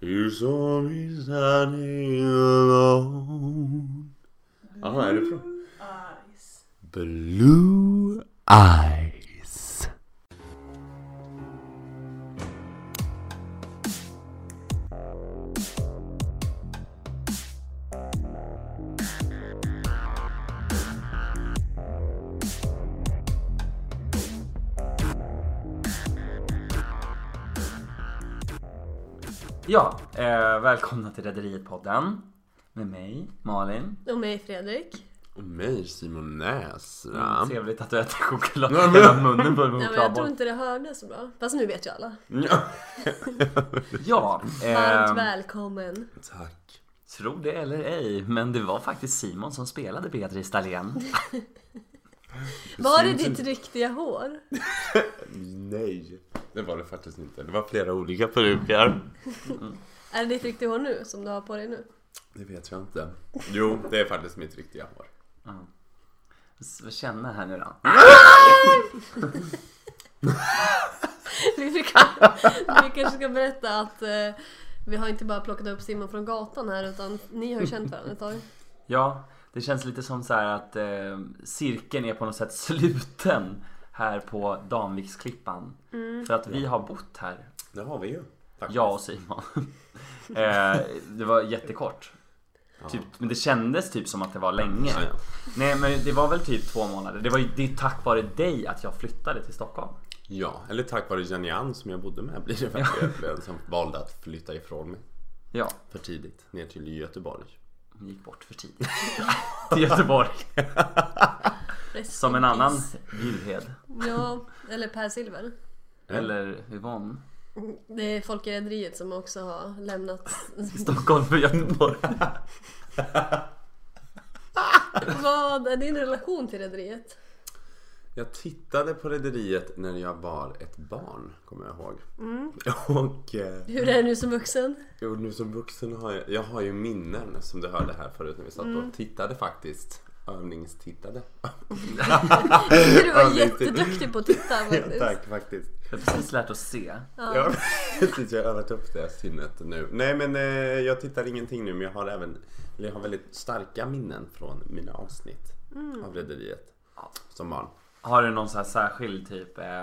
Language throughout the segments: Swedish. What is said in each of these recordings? You're sorry standing alone Ja, är det bra? Eyes. Blue Eyes. Ja, eh, välkomna till Rederiet-podden med mig, Malin. Och mig Fredrik. Och mig Simon Mm, Näsra. Trevligt att du äter choklad Ja, men- hela munnen börjar med Ja, men jag tror chokladboll. inte det hördes så bra. Fast nu vet ju alla. Ja, Varmt eh, välkommen. Tack. tro det eller ej, men det var faktiskt Simon som spelade Beatrice Dahlén. Var det syns ditt riktiga hår? Nej, det var det faktiskt inte. Det var flera olika peruker. Är det ditt riktiga hår nu som du har på dig nu? Det vet jag inte. Jo, det är faktiskt mitt riktiga hår. Så Känna här nu då. Vi, brukar, vi kanske ska berätta att eh, vi har inte bara plockat upp Simon från gatan här utan ni har ju känt varandra ett tag. Ja, det känns lite som så här att eh, cirkeln är på något sätt sluten här på Danviksklippan. Mm. För att vi har bott här, Det har vi ju. Faktiskt. jag och Simon. eh, det var jättekort. Typ, men det kändes typ som att det var länge. Ja, ja. Nej men det var väl typ två månader. Det, var, ju- det är tack vare dig att jag flyttade till Stockholm. Ja, eller tack vare Jenny Ann som jag bodde med blir det verkligen. Som valde att flytta ifrån mig Ja, för tidigt. Ner till Göteborg. hon gick bort för tidigt. till Göteborg. Rest Som en in annan peace. Bjurhed. Ja, eller Per Silver. Eller Yvonne. Det är folk i rederiet som också har lämnat. Stockholm för Göteborg. Vad är din relation till rederiet? Jag tittade på Rederiet när jag var ett barn, kommer jag ihåg. Mm. Och, eh, Hur är det nu som vuxen? och nu som vuxen har jag, jag har ju minnen som du hörde här förut när vi satt Mm. och tittade faktiskt. Övningstittade. Du Ja, var lite. jätteduktig på att titta faktiskt. Tack faktiskt. Jag har precis lärt oss se. Ja, precis. Jag har övat upp det sinnet nu. Nej men eh, jag tittar ingenting nu men jag har även eller jag har väldigt starka minnen från mina avsnitt Mm. av Rederiet som barn. Har du någon så här särskild typ eh,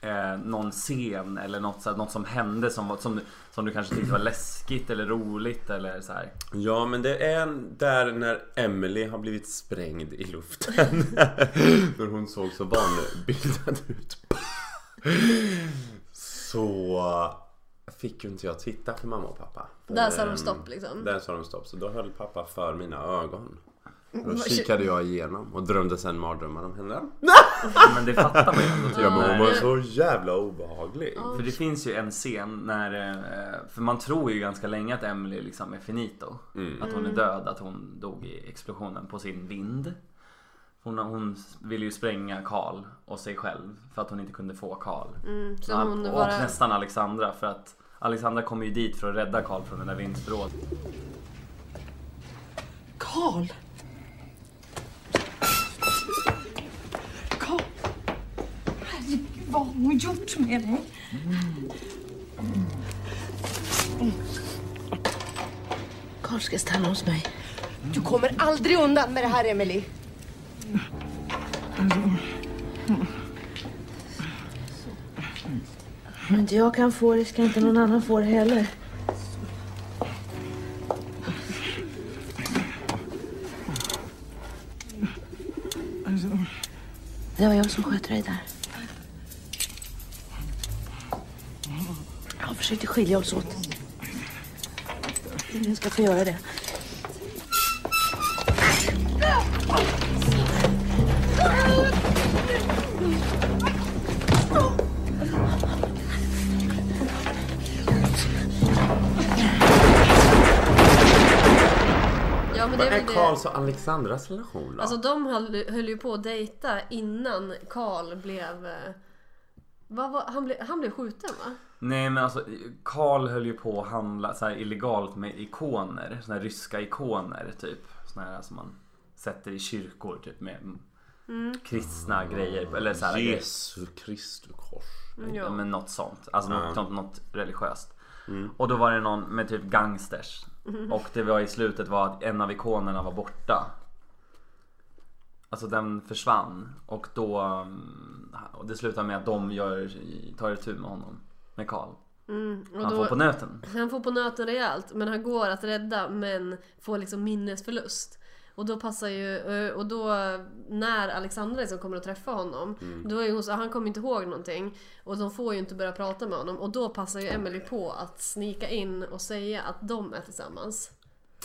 eh, någon scen eller något, så här, något som hände som, var- som, som du kanske tyckte var läskigt eller roligt eller så här. Ja men det är en där när Emily har blivit sprängd i luften. när hon såg så vanbildad ut. så fick ju inte jag titta för mamma och pappa. Där sa de Ehm, stopp, liksom. Där sa de stopp. Så då höll pappa för mina ögon. Och Då Mm, Vad kikade jag igenom och drömde sen mardrömmar om henne. Men det fattar man ju ändå. typ. Jag bara, hon var nej. så jävla obehaglig. För det finns ju en scen när, eh, för man tror ju ganska länge att Emily liksom är finito. Att hon är Mm. död, att hon dog i explosionen på sin vind. Hon, hon ville ju spränga Karl och sig själv för att hon inte kunde få Karl. Mm, Så hon och bara... nästan Alexandra för att Alexandra kommer ju dit för att rädda Karl från det där vindsbrådet. Karl! Karl! Herregud, vad har hon gjort med dig? Karl ska stanna hos mig. Du kommer aldrig undan med det här, Emily. Om inte jag kan få det ska inte någon annan få det heller. Det var jag som sköt dig där. Jag försökte skilja oss åt. Ingen ska få göra det. Ja men det Vad är väl är det. Karls och Alexandras relation då? Alltså de höll, höll ju på att dejta innan Karl blev... eh, Vad var, han, blev han blev skjuten va? Nej men alltså Karl höll ju på att handla så här illegalt med ikoner, såna här ryska ikoner typ. Såna här som man sätter i kyrkor typ med kristna grejer eller så här grejer. Jesu Kristi kors. Ja. Men något sånt. Alltså något, något, något religiöst. Och då var det någon med typ gangsters. Mm-hmm. Och det var i slutet var att en av ikonerna var borta. Alltså den försvann. Och då... mm, Och det slutar med att de gör, tar itu med honom. Med Karl. Mm, Och Han då, får på nöten. han får på nöten rejält men han går att rädda men får liksom minnesförlust. Och då passar ju, eh, och då när Alexandra liksom kommer att träffa honom, då är hon så, han kommer inte ihåg någonting och de får ju inte börja prata med honom och då passar ju Emily på att snika in och säga att de är tillsammans.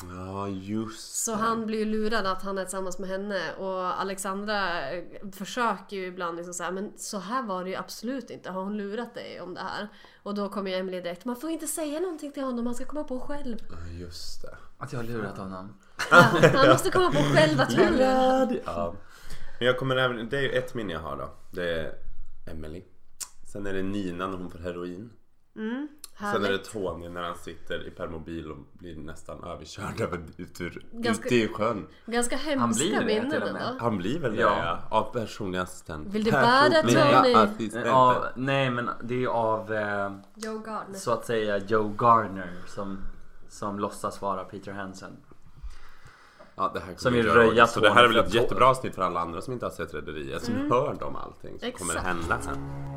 Ja, just Så han blir ju lurad att han är tillsammans med henne och Alexandra eh, försöker ju ibland liksom så här, men så här var det ju absolut inte. Har hon lurat dig om det här? Och då kommer ju Emily direkt, man får inte säga någonting till honom, han ska komma på själv. Ja, just det. Att jag har lurat honom. Han måste komma på själv att han Ja. Men jag kommer även, det är ju ett minne jag har då. Det är Emily. Sen är det Nina när hon får heroin. Sen är det Härligt. Tony när han sitter i permobil och blir nästan överkörd över, ut ur, Ganska- ute i sjön. Ganska Han blir hemska det till minnen och med. ändå. Han blir väl det ja. Ja. av personlig assistent. Vill du bära, Personliga Tony? assistenten. Av, nej men det är ju av eh, Joe Gardner. så att säga Joe Garner som, som låtsas vara Peter Hansen. Ja, det här Som kommer vill jag ihåg. röja Så det här är väl tårna ett för att- jättebra avsnitt för alla andra som inte har sett Rederiet. Som hör dem allting som kommer Mm. Exakt. hända sen.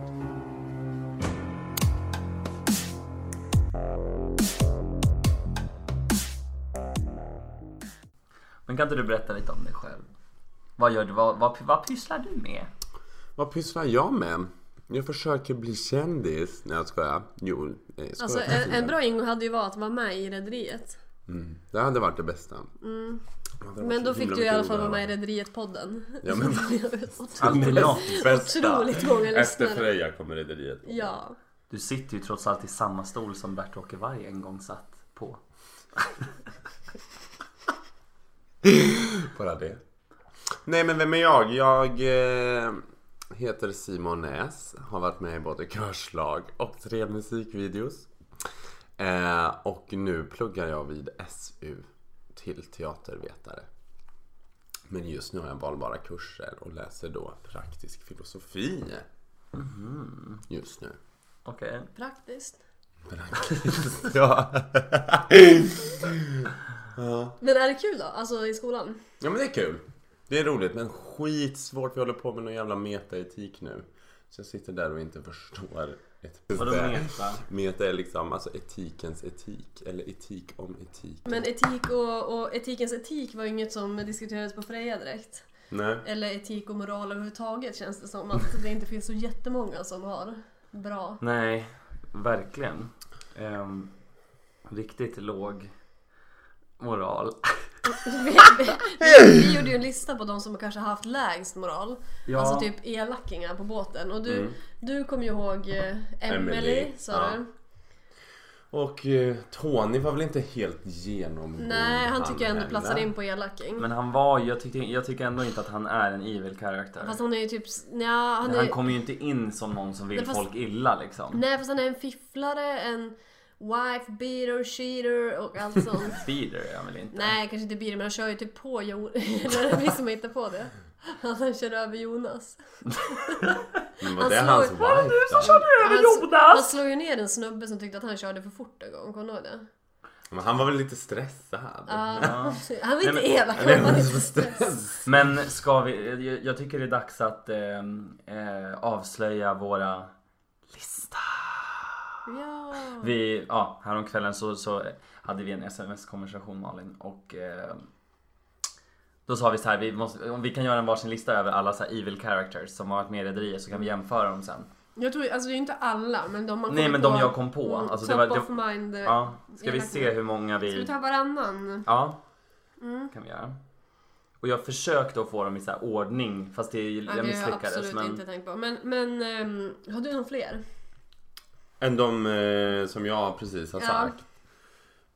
Men kan inte du berätta lite om dig själv? Vad gör du? Vad, vad, vad pysslar du med? Vad pysslar jag med? Jag försöker bli kändis. Nej jag skojar. Jo, eh, jag skojar. Alltså en, en bra ingång hade ju varit att vara med i Rederiet. Det hade varit det bästa. Det hade varit Mm. Men då så fick himla du i alla mycket fall vara roligare. med i Rederiet-podden. Ja, men- Alltid något. Bästa. Otroligt många Efter lyssnare. Freja kommer Rederiet. Ja. Du sitter ju trots allt i samma stol som Bert-Åke Varg en gång satt på. Bara det. Nej men vem är jag? Jag eh, heter Simon Näs. Har varit med i både körslag och tre musikvideos. Eh, och nu pluggar jag vid SU till teatervetare. Men just nu har jag valbara kurser och läser då praktisk filosofi. Just nu. Okej. Praktiskt. Ja. Men är det kul då? Alltså i skolan? Ja men det är kul. Det är roligt men skitsvårt. Vi håller på med någon jävla metaetik nu. Så jag sitter där och inte förstår. Ett Vadå meta? Meta är liksom alltså etikens etik. Eller etik om etik. Men etik och, och etikens etik var ju inget som diskuterades på Freja direkt. Nej. Eller etik och moral överhuvudtaget känns det som att det inte finns så jättemånga som har bra. Nej, verkligen. Ehm, riktigt låg moral. Vi, vi, vi gjorde ju en lista på de som kanske har haft lägst moral. Ja. Alltså typ elakingar på båten. Och du, du kommer ju ihåg eh, Emily, Emily, sa ja. du. Och eh, Tony var väl inte helt genomgod. Nej, han tycker jag ändå heller. platsar in på elaking. Men han var ju, jag, tyckte, jag tycker ändå inte att han är en evil character. Fast han är ju typ... Nja, han Men är, han kommer ju inte in som någon som vill Men fast- folk illa liksom. Nej, fast han är en fifflare, en wife beater, cheater och allt sånt. Feeder är han väl inte? Nej, kanske inte Birre, men han kör ju typ på Jonas. Eller är det vi som hittar på det? Att han kör över Jonas. Men var Han det slår- hans Vad är wife då? Han, s- han slog ju ner en snubbe som tyckte att han körde för fort en gång, kommer du ihåg det? Men han var väl lite stressad. Ja. Han var inte men- elak, Nej, han men han var var lite stressad. stressad. Men ska vi, jag, jag tycker det är dags att ehm, eh, avslöja våra lista. Ja. Vi, ja, häromkvällen så, så hade vi en sms-konversation Malin och eh, då sa vi så här, vi, måste, om vi kan göra en varsin lista över alla så här evil characters som har varit med i Rederiet så kan vi jämföra dem sen. Jag tror, alltså det är ju inte alla, men de man Nej, kommer men på, Mm, de jag kom på. Alltså, det top var- of det- mind. Ska Ja, ska vi se hur många vi vi... ta Mm. varannan? Ja, kan vi göra. Och jag försökte att få dem i så här ordning fast det, Ja, jag det har jag misslyckades. absolut Men... inte tänkt på. Men, men ehm, har du någon fler? Än de eh, som jag precis har Ja. sagt.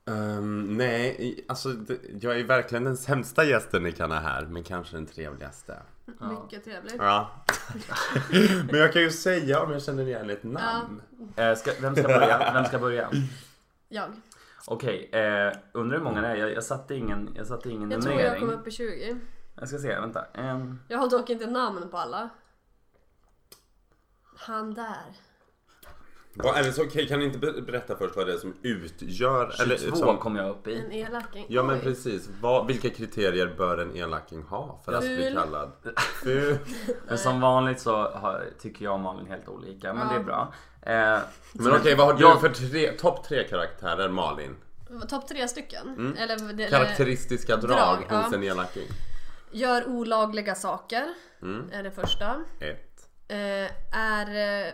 Ehm, nej, i- alltså det, jag är verkligen den sämsta gästen ni kan ha här, men kanske den trevligaste. Mycket trevligt. Ja. men jag kan ju säga om jag känner igen ett namn. Eh, ska, vem ska börja? Vem ska börja? Jag. Okej, eh, undrar hur många det är. Jag, jag satte ingen, jag satte ingen Jag tror numrering. jag Jag, kom upp i 20. ska se, vänta. En, Jag har dock inte namn på alla. Han där. Vad är det så, okej, kan ni inte be- berätta först vad det är som utgör... 22 som, kom jag upp En i. elaking. Ja men Oj. precis. Vad, vilka kriterier bör en elaking ha för att bli Ful. kallad ful? Men som vanligt så har, tycker jag och Malin helt olika, men det är bra. Eh, Men okej, vad har du Jag- för tre, topp tre karaktärer Malin? Topp tre stycken. Mm. Eller, det- det- Karaktäristiska drag, drag, hos ja. en elaking? Gör olagliga saker. Mm. Är det första. Ett. Eh, är eh,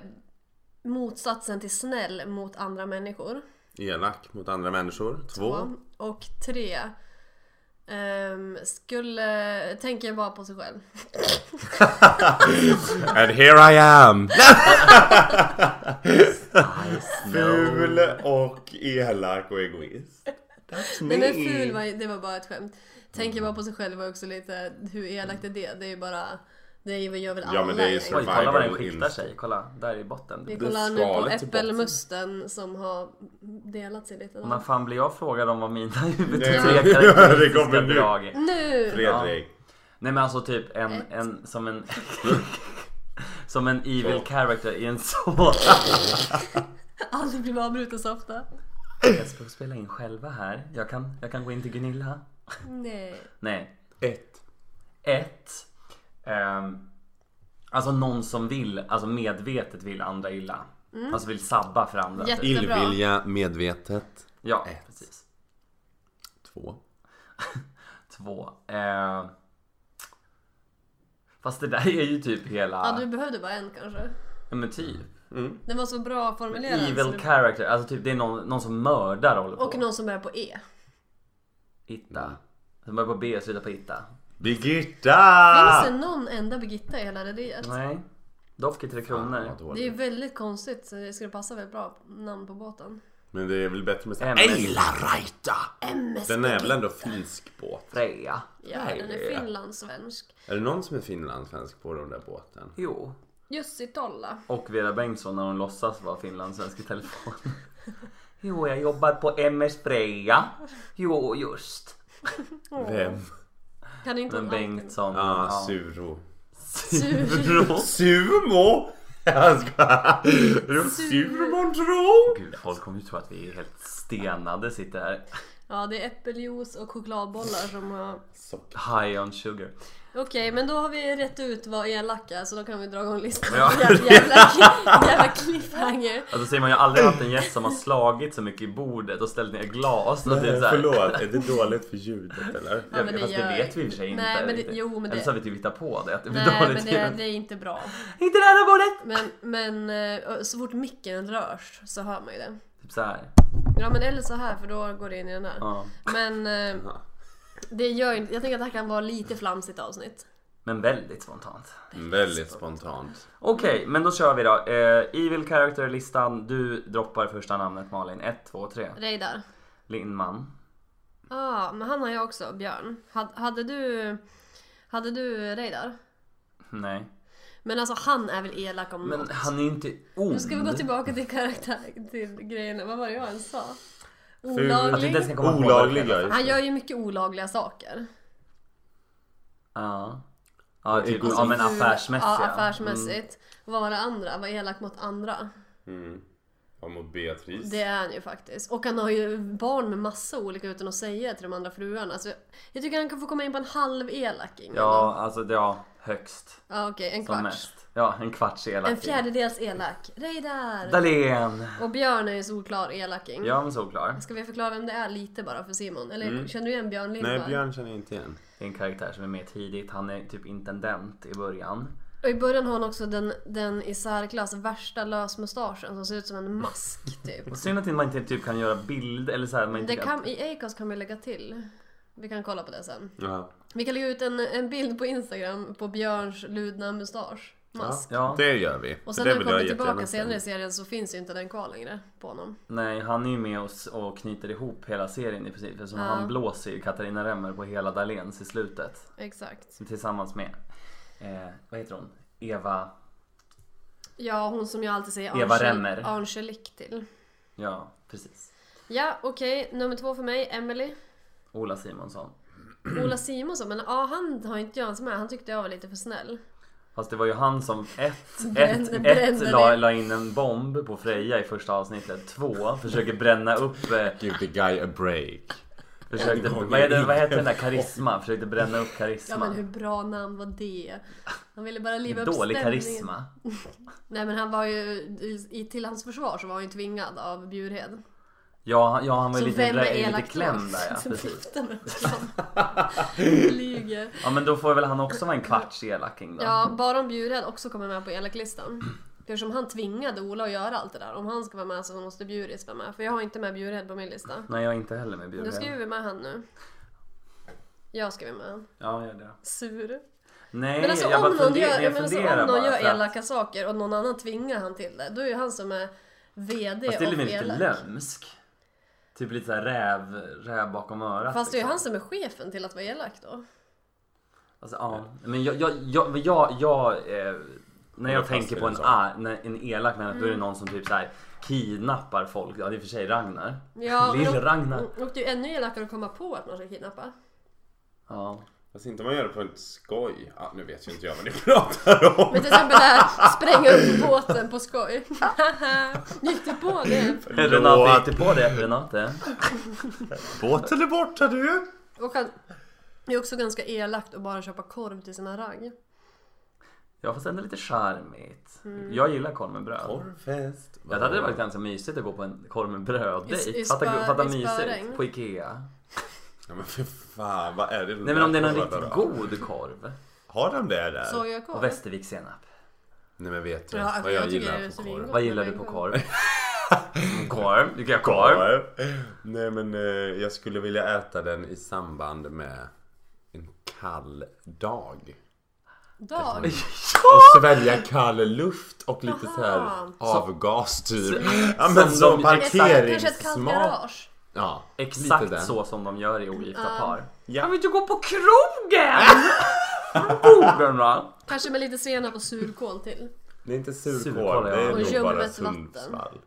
motsatsen till snäll mot andra människor. Elak mot andra människor. Två. Och tre. ehm, skulle... Tänker bara på sig själv. And here I am! no. Ful och elak och egoist. That's me. Nej men ful var, ju- det var bara ett skämt. Tänker bara på sig själv var också lite... Hur elakt är det? Det är ju bara... Det är- gör väl alla Ja, men det är ju egentligen. Oj, kolla vad den Survival skiktar instinct. sig. Kolla, där i botten. Vi Det kollar nu på skalet till botten. äppelmusten som har delat sig lite. När Då. fan blir jag frågad om vad mina Ja. huvudtre karaktäristiska Det kommer nu. drag är? Nu! Fredrik. Nej men alltså typ en, Ett. en som en Som en evil Så. character i en såpa Aldrig blir avbruten så ofta. Jag ska spela in själva här Jag kan, jag kan gå in till Gunilla Nej. Nej Ett. Ett ehm, Alltså någon som vill, alltså medvetet vill andra illa Alltså vill sabba för andra Mm. Jätte- typ. Jättebra. Illvilja medvetet. Ja, precis Två. Två eh, Fast det där är ju typ hela Ja, du behövde bara en kanske. Ja men typ Den var så bra formulerad. så Evil du- character, alltså typ det är någon, någon som mördar håller på Och någon som börjar på E. Itta. Som börjar på B och slutar på Itta. Birgitta! Finns det någon enda Birgitta i hela rederiet? Nej. Dock i Tre Kronor. Det är ju väldigt konstigt, så det skulle passa väldigt bra namn på båten. Men det är väl bättre med såhär MS. Eilarajta! MS Den är väl ändå finsk båt? Freja. Ja, Nej, den det är- är finlandssvensk. Är det någon som är finlandssvensk på den där båten? Jo. Jussi Tolla. Och Vera Bengtsson när hon låtsas vara finlandssvensk i telefon. jo, jag jobbar på MS Freja. Jo, just. Vem? Kan inte Men hon Bengtsson. Ah, Suro. Sur. Bro. Sumo! Jag skojar. Surmon tro! Gud, folk kommer ju tro att vi är helt stenade sitter här. Ja, det är äppeljuice och chokladbollar som har... High on sugar. Okej, men då har vi rätt ut vad elaka är, så då kan vi dra igång listan. Jävla, jävla, jävla cliffhanger. Alltså Simon, jag har aldrig haft en gäst som har slagit så mycket i bordet och ställt ner glas. Och typ så här. Förlåt, är det dåligt för ljudet eller? Ja, men det Fast det gör- vet vi i och för sig inte. Nej, men det- riktigt. jo, men det- Eller så har vi typ hittat på det. Att det blir Nej, dåligt men det, det är inte bra. Inte nära bordet! Men, men eh, så fort micken rörs så hör man ju det. Typ så här. Ja, men eller så här för då går det in i den här. Ja. Men eh, Jaha. det gör inte... Jag tänker att det här kan vara lite flamsigt avsnitt. Men väldigt spontant. Väldigt spontant. Okej, men då kör vi då. Eh, evil character-listan. Du droppar första namnet Malin. 1, 2, 3. Reidar. Lindman. Ja, men han har jag också, Björn. Had, hade du... Hade du Reidar? Nej. Men alltså han är väl elak om Men något. han är ju inte ond. Nu ska vi gå tillbaka till karaktär, till grejerna. Vad var det jag ens sa? Att vi Olaglig. inte ens kan komma på Olaglig vad det är. grej. Han gör ju mycket olagliga saker. Ja. Ja, typ, Egoism. ja men affärsmässiga. Mm. Alltså, Ja, affärsmässigt. Och vad var det andra? Var elak mot andra. Ja, mot Beatrice. Det är han ju faktiskt. Och han har ju barn med massa olika utan att säga till de andra fruarna. Så jag tycker han kan få komma in på en halv elaking. Ja, alltså det- ja, högst. Ja, okej, en Som kvarts. mest. Ja, en kvarts elak. typ. En fjärdedels elak. Reidar! Dahlén. Och Björn är ju solklar elaking. Ja, Mm. men såklart. Ska vi förklara vem det är lite bara för Simon? Eller känner du igen Björn Lindberg? Nej, Björn känner jag inte igen. Det är en karaktär som är med tidigt. Han är typ intendent i början. Och i början har han också den, den i särklass värsta lösmustaschen som ser ut som en mask typ. Och synd att man inte typ kan göra bild eller så här, man inte Det kan... kan, I Acast kan vi lägga till. Vi kan kolla på det sen. Ja. Vi kan lägga ut en, en bild på Instagram på Björns ludna mustasch. Mask. Ja. Det gör vi. Och För sen det när han vill jag kommer tillbaka jättegärna se. senare i serien så finns ju inte den kvar längre på honom. Nej, han är ju med och, s- och knyter ihop hela serien i princip. Eftersom han blåser ju Katarina Remmer på hela Dahléns i slutet. Exakt. Tillsammans med, eh, vad heter hon? Eva, Ja, hon som jag alltid säger Eva Angel- Remmer. Angelique till. ja precis. Ja, okej. Nummer två för mig, Emily. Ola Simonsson. Mm. Ola Simonsson, men ja, han har inte jag ens med. Han tyckte jag var lite för snäll. Fast det var ju han som ett, Brände- ett, brände ett la, det. la in en bomb på Freja i första avsnittet. Två, försöker bränna upp... Eh, Give the guy a break. försökte, En gång vad, är det, i vad heter den där livet. karisma? Försökte bränna upp Ja karisma. men hur bra namn var det? Han ville bara liva upp Dålig stämningen. karisma. Nej men han var ju, i, till hans försvar så var han ju tvingad av Bjurhed. Ja, han- ja han var Så ju lite, vem är rä- lite elak klämd där ja, Så precis. lyfter man upp honom. Flyger. Ja men då får väl han också vara en kvarts elaking då. Ja, bara om Bjurhed också kommer med på elaklistan. Eftersom han tvingade Ola att göra allt det där. Om han ska vara med så måste Bjuris vara med. För jag har inte med Bjurhed på min lista. Nej jag är inte heller med Då Bjurhed. skriver vi med han nu. Jag skriver med han. Ja, gör det. Sur. Nej, Men alltså, jag bara om, någon funder- gör, jag jag menar, så om funderar någon bara. gör för att- elaka saker och någon annan tvingar han till det. Då är ju han som är VD Fast det är och väl lite elak. lömsk. Typ lite såhär räv, räv bakom örat. Fast det är ju liksom. han som är chefen till att vara elak då. Alltså, ja. Men jag, jag, jag, men jag, jag eh, när jag fast tänker i på en en, sak. a, när- en elak människa Mm. då är det någon som typ så här kidnappar folk. Ja det är i och för sig Ragnar. Ja, men Mm. de- Lill-Ragnar. Och det är ju ännu elakare att komma på att man ska kidnappa. Ja. Fast inte om man gör det på ett skoj. Ja, nu vet ju inte jag vad ni pratar om. Men till exempel det här spränga upp båten på skoj. Gick du på det? Renate, gick du på det Renate? Båten är borta du! Och han, det är också ganska elakt att bara köpa korv till sina ragg. Ja fast ändå lite charmigt. Mm. Jag gillar korv med bröd. Korvfest. Jag hade det varit ganska mysigt att gå på en korv med I- i bröd-dejt. spö- Fatta, fatta i spöregn. mysigt på Ikea. Ja men för fan, vad är det Nej men om det är en korvar riktigt då? god korv. Har de det där? Och Sojakorv. Västervikssenap. Nej men vet du Ja, alltså, vad jag, jag tycker det gillar är på så korv? vingott. Vad gillar du på korv? Mm, korv? Du kan ha korv. Korv. Nej men eh, jag skulle vilja äta den i samband med en kall dag. Dag. Och svälja kall luft och lite så här Aha. avgas typ. Så- Ja men som som de- exakt. Kanske ett kallt parkeringssmak. garage. Ja, lite där. Exakt så som de gör i ogifta par. Ja. Jag vill inte gå på krogen! Krogen va? Kanske med lite senap och surkål till. Det är inte surkål, Surkål, ja. det är nog Och bara ljummet vatten. Sundsvall.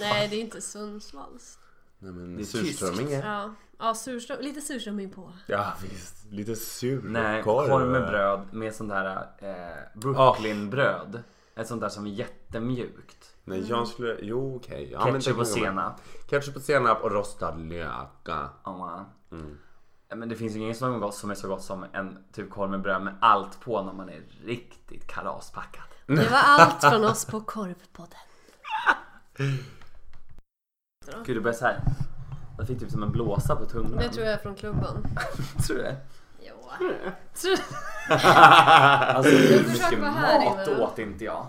Nej, det är inte Sundsvalls. Nej Det men är tyskt. surströmming är... Ja, ja surström, lite surströmming på. Ja visst, lite surkorv. Nej, korv med bröd med sånt där eh, Brooklyn-bröd. Ett sånt där som är jättemjukt. Nej jag skulle, jo okej. Ja, men det Ketchup kan och jag med. senap. Ketchup och senap och rostad löka. Ja. Mm. Ja, Men det finns ju ingen som är gott som är så gott som en typ korv med bröd med allt på när man är riktigt kalaspackad. Det var allt från oss på Korvpodden. Gud, du börjar såhär. Jag fick typ som en blåsa på tungan. Det tror jag är från klubban. Tror du det? Jo. Alltså hur försöker mycket vara här mat inne. åt inte jag?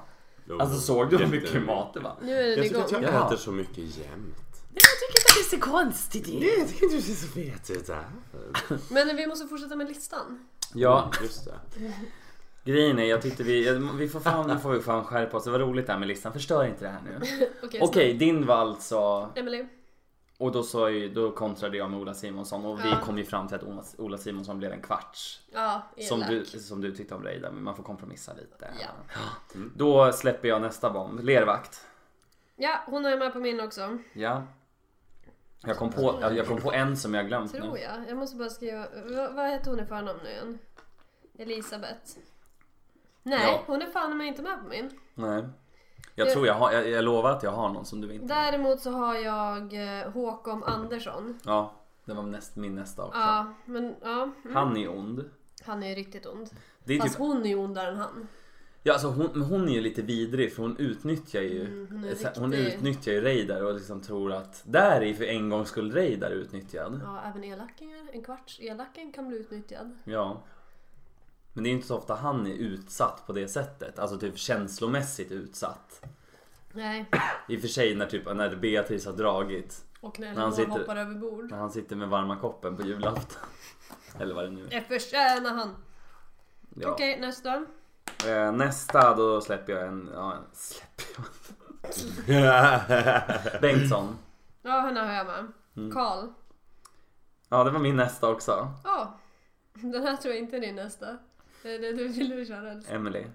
Alltså såg du hur mycket mat det var? Nu är den Jag tycker igång. att jag Ja. äter så mycket jämt. Jag tycker att det ser konstigt ut. Jag tycker inte du ser så fet ut där. Men vi måste fortsätta med listan. Ja, Just det. grejen är jag tyckte vi, vi får fan, nu får vi fan skärpa oss. Det var roligt det här med listan, förstör inte det här nu. Okej, Okej, din var alltså, så- Emily. och då, sa ju, då kontrade jag med Ola Simonsson och vi Ja. kom ju fram till att Ola, Ola Simonsson blev en kvarts. Ja, elak. Som du, som du tyckte om Reidar, men man får kompromissa lite. Ja. Då släpper jag nästa bomb, lervakt. Ja, hon är med på min också. Ja. Jag kom på, jag kom på en som jag glömt nu. Tror jag. Jag måste bara skriva. Vad, vad heter hon i förnamn nu igen? Elisabeth. Nej, Ja. hon är fan mig inte med på min. Nej. Jag tror jag har, jag, jag lovar att jag har någon som du inte Däremot så har jag eh, Håkon Andersson. Ja, det var näst, min nästa också. Ja, men ja. mm. Han är ond. Han är ju riktigt ond. Det är typ, Fast hon är ju ondare än han. ja, alltså hon, men hon är ju lite vidrig för hon utnyttjar ju Mm, hon är så- hon riktig. utnyttjar ju Reidar och liksom tror att där är för en gångs skull Reidar utnyttjad. Ja. Ja, även elakingar. En kvarts elaking kan bli utnyttjad. Men det är ju inte så ofta han är utsatt på det sättet. Alltså typ känslomässigt utsatt. Nej. I och för sig när, typ, när Beatrice har dragit. Och när Men han Elinor sitter- hoppar över bord. När han sitter med varma koppen på julafton. Eller vad det nu är. Det förtjänar han. Ja. Okej, nästa. Eh, nästa då släpper jag en... Ja, släpper jag. Bengtsson. Ja, henne har jag med. Mm. Karl. Ja, det var min nästa också. Ja. Den här tror jag inte är din nästa. Det, det, du ville köra helst. Emily.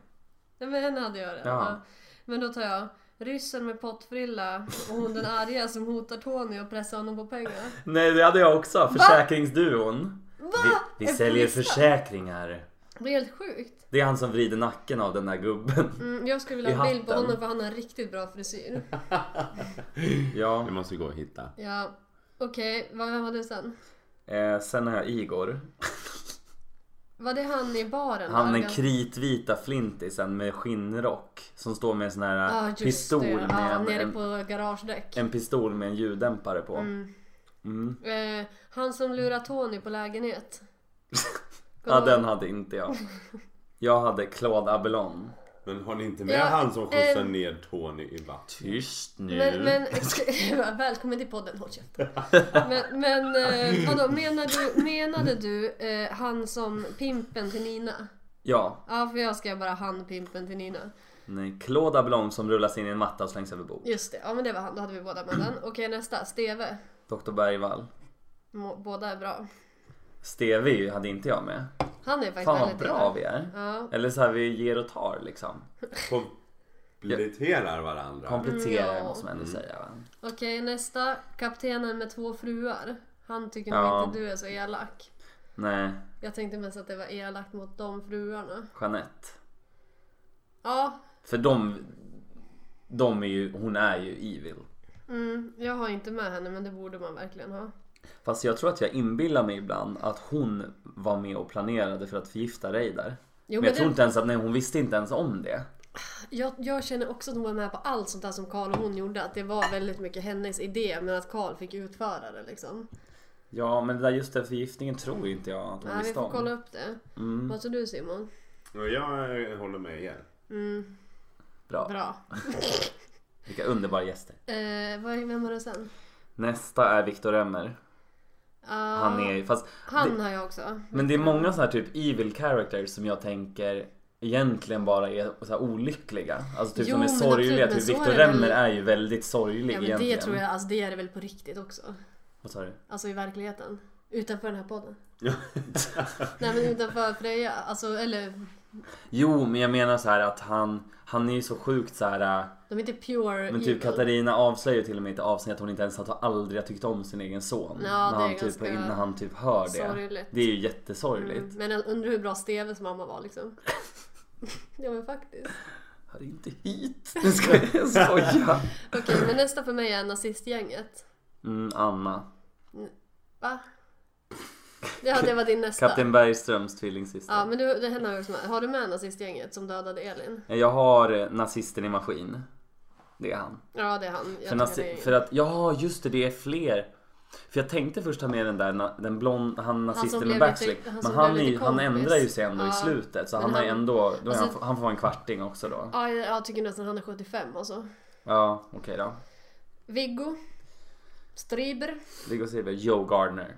Nej men henne hade jag redan. Ja. Ja. Men då tar jag ryssen med pottfrilla och hon den arga som hotar Tony och pressar honom på pengar. Nej, det hade jag också. Försäkringsduon. Va? Vi, vi Är på säljer listan? försäkringar. Det är helt sjukt. Det är han som vrider nacken av den där gubben. Mm, jag skulle I vilja ha en bild på hatten. honom för han har en riktigt bra frisyr. Ja. Vi måste gå och hitta. Ja, okej. Vad Vem var du sen? Eh, sen har jag Igor. Var det han i baren? Han där? den kritvita flintisen med skinnrock. Som står med en sån här Ja, just det. pistol med Ja, en, nere en, på garagedäck. en pistol med en ljuddämpare på. Mm. Eh, han som lurar Tony på lägenhet. Ja, den hade inte jag. Jag hade Claude Abelon. Men har ni inte med Ja, han som skjutsar eh, ner Tony i vattnet? Tyst nu. Men, men, välkommen till podden, håll käften. Men, men eh, vadå, menade du, menade du eh, han som pimpen till Nina? Ja, Ja, för jag skrev bara han pimpen till Nina. nej. Claude Abelon som rullas in i en matta och slängs över bord. Just det, ja men det var han, då hade vi båda med den. Okej nästa, Steve. Dr Bergvall. Må- Båda är bra. Stevie hade inte jag med. Han är faktiskt Fan vad väldigt bra vi är. Ja. Eller så här, vi ger och tar liksom. Kompletterar varandra. Kompletterar Mm, Ja. måste man ändå säga. va? Okej nästa, kaptenen med två fruar. Han tycker Ja. nog inte du är så elak. Nej, Jag tänkte mest att det var elakt mot de fruarna. Jeanette. Ja, För de, de är ju, hon är ju evil. mm, jag har inte med henne men det borde man verkligen ha. Fast jag tror att jag inbillar mig ibland att hon var med och planerade för att förgifta Reidar. men Jo, men jag tror det- inte ens att, nej hon visste inte ens om det. Jag, jag känner också att hon var med på allt sånt där som Karl och hon gjorde. Att det var väldigt mycket hennes idé men att Karl fick utföra det liksom. Ja men det där just den förgiftningen tror inte jag att hon Nej, vi visste får om. kolla upp det. Mm. Vad tror du Simon? Och jag eh, håller med er. Bra. Bra. Vilka underbara gäster. Eh, vad, vem var det sen? Nästa är Viktor Emmer. Han Ah, är fast han har jag också. Men det är många så här typ evil characters som jag tänker egentligen bara är så här olyckliga. Alltså typ Jo, de är men sorgliga. absolut, men Typ så är Viktor det väl- Remmer är ju väldigt sorglig Ja, men egentligen. det tror jag, alltså det är det väl på riktigt också. Vad sa du? Alltså i verkligheten. Utanför den här podden. Nej men utanför Freja. Alltså eller, Jo, men jag menar så här att han, han är ju så sjukt så här. äh, de är inte pure Men evil. typ Katarina avslöjar ju till och med i ett avsnitt att hon inte ens har aldrig har tyckt om sin egen son. Ja, när, det är han typ, ganska när han typ hör det. sorgligt. Det är ju jättesorgligt. Mm, Men jag undrar hur bra Steves mamma var liksom. ja men faktiskt. Hör inte hit! Nu ska jag skoja. Okej men nästa för mig är nazistgänget. Mm, Anna. Va? Ja det var din nästa. Kapten Bergströms tvillingsyster. Ja men du, det henne har jag också med. Har du med nazistgänget som dödade Elin? Jag har eh, Nazisten i maskin. Det är han. Ja det är han. Jag För, tycker nazi- det är- för att, ja just det, det är fler. För jag tänkte först ta med den där, na- den blond, han som nazisten med blev backslick. lite- han men som han, blev är, ju- lite han kompis. ändrar ju sig ändå i Ja. slutet. Så Men han, har ju han- ändå, då är alltså- han, han får vara en kvarting också då. Ja, jag, jag tycker nästan han är 75 alltså. Ja, okej då. Viggo. Striber. Viggo Silver, Joe Gardner.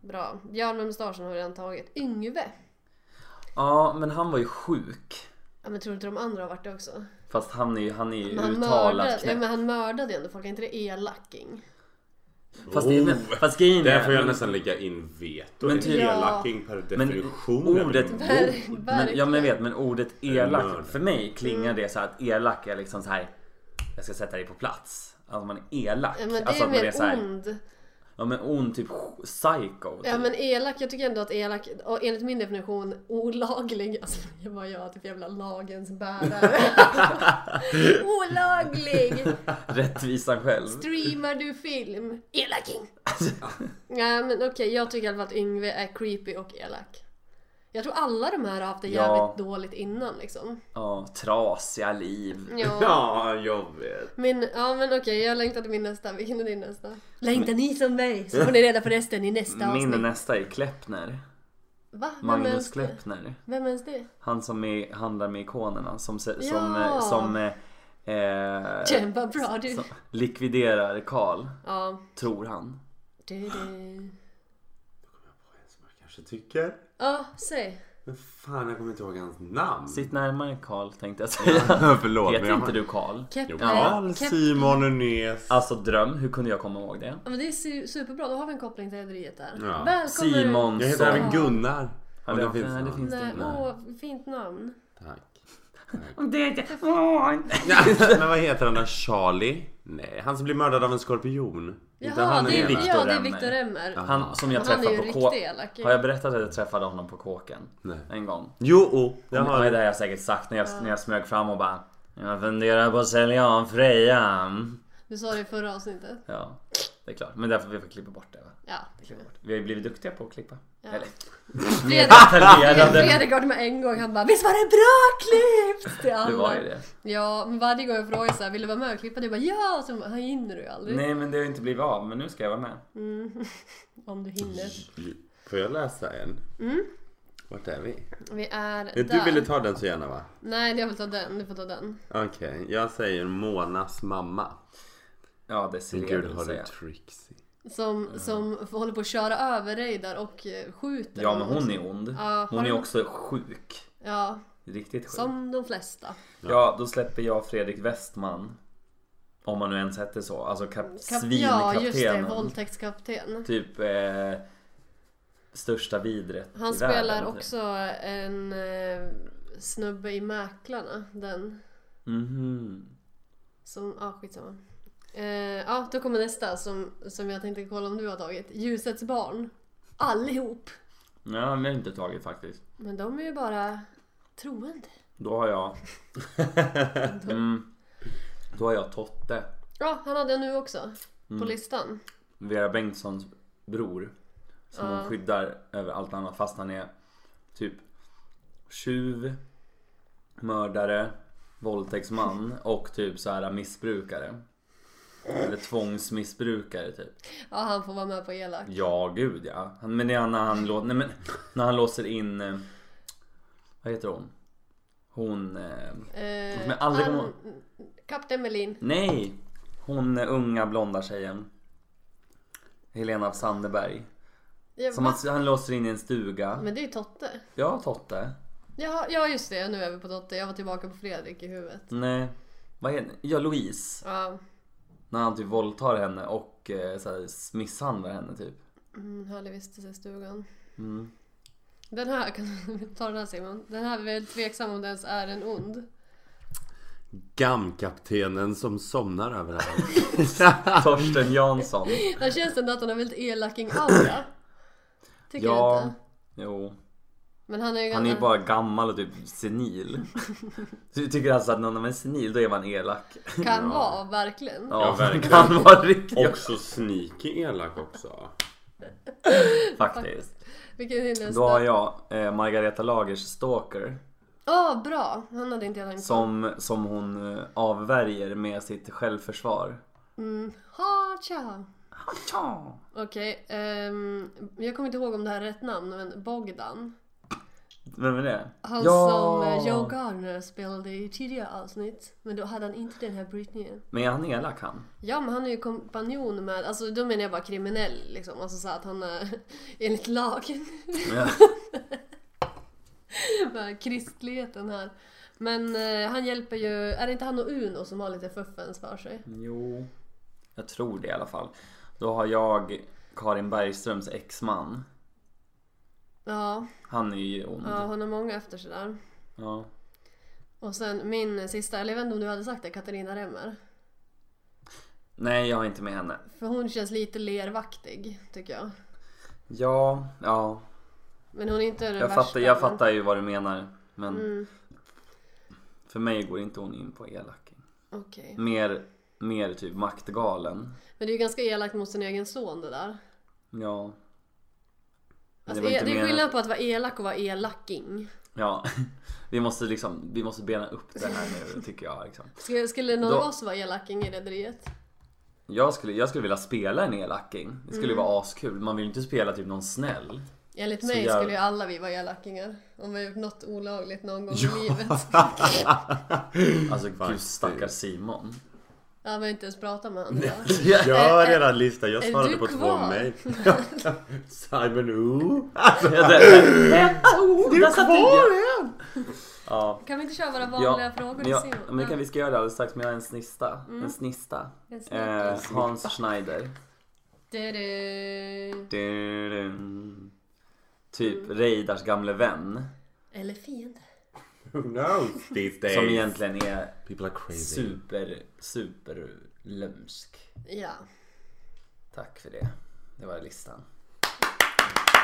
Bra. Björn med mustaschen har vi redan tagit. Yngve. Ja, men han var ju sjuk. Ja, men tror du inte de andra har varit det också? Fast han är ju, han är ju Men han, uttalat mördade, ja, knäpp. men han mördade ju ändå folk. Är inte det elacking? Fast, Oh. det är- men, fast grejen Där får jag är... nästan lägga in veto. Men Men typ- Elacking per Men definition. är väl ordet... emot. Ver- Men, ja men jag verkligen. Mm. vet, men ordet elak. Mördare. För mig klingar det så här att elak är liksom så här. Jag ska sätta dig på plats. Alltså man är elak. Ja, men det alltså är att man mer så här- ond. Ja men ond, typ psycho. Typ. Ja men elak, jag tycker ändå att elak, och enligt min definition, olaglig. Alltså jag bara jag typ jävla lagens bärare. olaglig! Rättvisan typ. själv. Streamar du film? Elaking! Nej men okej, jag tycker i alla fall att Yngve är creepy och elak. Jag tror alla de här har haft det Ja. jävligt dåligt innan liksom. Ja, trasiga liv. Ja. Ja, jag vet. Min, ja men okej, jag längtar till min nästa. Vilken är din nästa? Längtar ni som mig? Så får ni reda på resten i nästa Min avsnitt. nästa är Kleppner. Va? Vem är Mm. ens Magnus det? Kleppner. Vem är ens det? Han som är, handlar med ikonerna. Som, se- Ja. som, eh, som eh, eh, Kämpa bra du. som likviderar Karl. Ja. Tror han. Du, du. Som jag kanske tycker. Ja, säg. Men fan, jag kommer inte ihåg hans namn. Sitt närmare Karl tänkte jag säga. Förlåt, Heter men jag inte har- du Karl? Jo, Kepler. Carl Kep- Simon Nes. Alltså dröm, hur kunde jag komma ihåg det? Ja, men det är su- superbra, då har vi en koppling till rederiet där. Ja. Välkommen! Jag Simonsson. heter även Gunnar. Ja, Och det- det finns nej, det någon. finns det Nej, inte. åh, fint namn. Tack. Det är inte... Åh, Men vad heter han då? Charlie? Nej, han som blir mördad av en skorpion. Inte han, det är Viktor ja, det är Remmer. Viktor Remmer. Ja. Han som jag Han är träffade ju på Kå- riktigt elak ju. Har jag berättat att jag träffade honom på kåken? Nej. En gång. Jo, oh, jag Jag har har det har jag säkert sagt när jag, när jag smög fram och bara Jag funderar på att sälja av Freja. Du sa det i förra avsnittet. Ja, det är klart. Men därför vi får klippa bort det. Va? Ja. Klippa bort. Vi har ju blivit duktiga på att klippa. Eller, Fredrik, detaljerade. Fredrik gav det mig en gång. Han bara Visst var det bra klippt? Till alla. Det var ju det. Ja, men varje gång jag frågar så här, vill du vara med och klippa? Du bara ja. Och så bara, "Han hinner du ju aldrig. Nej men det har ju inte blivit av men nu ska jag vara med. Om du hinner. Får jag läsa en? Vart är vi? Vi är Du Mm. där. ville ta den så gärna va? Nej, jag vill ta den. Du får ta den. Okej, jag säger Monas mamma. Ja det ser Min jag gud vill har du säga. Trixie. Som, som håller på att köra över dig där och eh, skjuter Ja men honom. hon är ond. Ja, har Hon är du- också sjuk. Ja, Riktigt sjuk. som de flesta. Ja, då släpper jag Fredrik Westman. Om man nu ens hette så. Alltså kap- Kap- svinkaptenen. Ja, just det. Våldtäktskapten. Typ eh, största vidret Han i spelar världen. typ. också en eh, snubbe i Mäklarna. Den Mhm. som, ja ah, skitsamma. Eh, ja, då kommer nästa som, som jag tänkte kolla om du har tagit. Ljusets barn. Allihop. Nej, han har jag inte tagit faktiskt. Men de är ju bara troende. Då har jag... mm. Då har jag Totte. Ja, han hade jag nu också. Mm. På listan. Vera Bengtssons bror. Som hon skyddar över allt annat fast han är typ tjuv, mördare, våldtäktsman och typ så här missbrukare. Eller tvångsmissbrukare typ. Ja, han får vara med på elak. Ja, gud ja. Han- Men det är när han, lå- nej, men, när han låser in... eh, Vad heter hon? Hon... eh, Eh, Men aldrig han- kommer- Kapten Melin. Nej! Hon eh, unga blonda tjejen. Helena af Sandeberg. Ja, Som va? han, han låser in i en stuga. Men det är ju Totte. Ja, Totte. Ja, ja just det, nu är vi på Totte. Jag var tillbaka på Fredrik i huvudet. Nej. Vad heter Ja, Louise. Ja, När han typ våldtar henne och eh, så här, misshandlar henne typ. mm, härlig vistelse i stugan. Mm. Den här, kan du ta den här Simon? Den här är väldigt tveksam om det ens är en ond. Gamkaptenen som somnar överallt. Torsten Jansson. Den känns ändå att han har väldigt elaking-aura. Tycker du Ja. inte? Jo. Men han är ju Han är ju ganska- bara gammal och typ senil. Så jag tycker alltså att när man är senil då är man elak. kan vara, verkligen. Ja, verkligen. Kan vara riktigt Också sneaky elak också. faktiskt. Vilken är nästa? Då har jag eh, Margareta Lagers stalker. Ja, bra! Han hade inte jag tänkt på. Som, som hon eh, avvärjer med sitt självförsvar. Ha, tja. Ja. Okej, ehm, jag kommer inte ihåg om det här är rätt namn, men Bogdan. Vem är det? Han som eh, Joe Garner spelade i tidigare avsnitt. Men då hade han inte den här brytningen. Men är han elak han? Ja men han är ju kompanjon med, alltså då menar jag bara kriminell liksom. Alltså så att han är enligt lagen. Ja. Bara Kristligheten här. Men eh, han hjälper ju, är det inte han och Uno som har lite fuffens för sig? Jo. Jag tror det i alla fall. Då har jag Karin Bergströms exman. Ja, Han är ju ond. ja Ja. hon har många efter sig där. Och sen min sista, eller jag vet inte om du hade sagt det, Katarina Remmer. Nej, jag är inte med henne. För hon känns lite lervaktig tycker jag. Ja, ja. Men hon är inte Jag den värsta. Mm. fattar, jag men- fattar ju vad du menar. Men för mig går inte hon in på elaking. Okej. Mer, mer typ maktgalen. Men det är ju ganska elakt mot sin egen son det där. Ja. Men Alltså, var inte det, är, det är meningen- skillnad på att vara elak och vara elaking. Ja, vi måste liksom, vi måste bena upp det här nu tycker jag liksom. Skulle, skulle någon Då- av oss vara elaking i Rederiet? Jag skulle, jag skulle vilja spela en elaking. Det skulle ju Mm. vara askul. Man vill ju inte spela typ någon snäll. Enligt Så mig jag- skulle ju alla vi vara elakingar. Om vi har gjort något olagligt någon gång i livet. Alltså gud stackars Simon. Jag har inte ens pratat med honom. idag. Jag har redan lista. Jag är svarade du på två kvar? mejl. Simon Ooh. Ja, det- det- Du är kvar! Ja. Kan vi inte köra våra vanliga Ja, frågor men, till jag, Simon? men det kan vi ska göra det alldeles strax men jag har en snista. En snista. En snista. Eh, Hans Schneider. Du-du. Du-dum. Typ Reidars gamle vän. Eller fiende. Who knows these days? Som egentligen är People are crazy. super, super lömsk. Ja. Tack för det. Det var listan.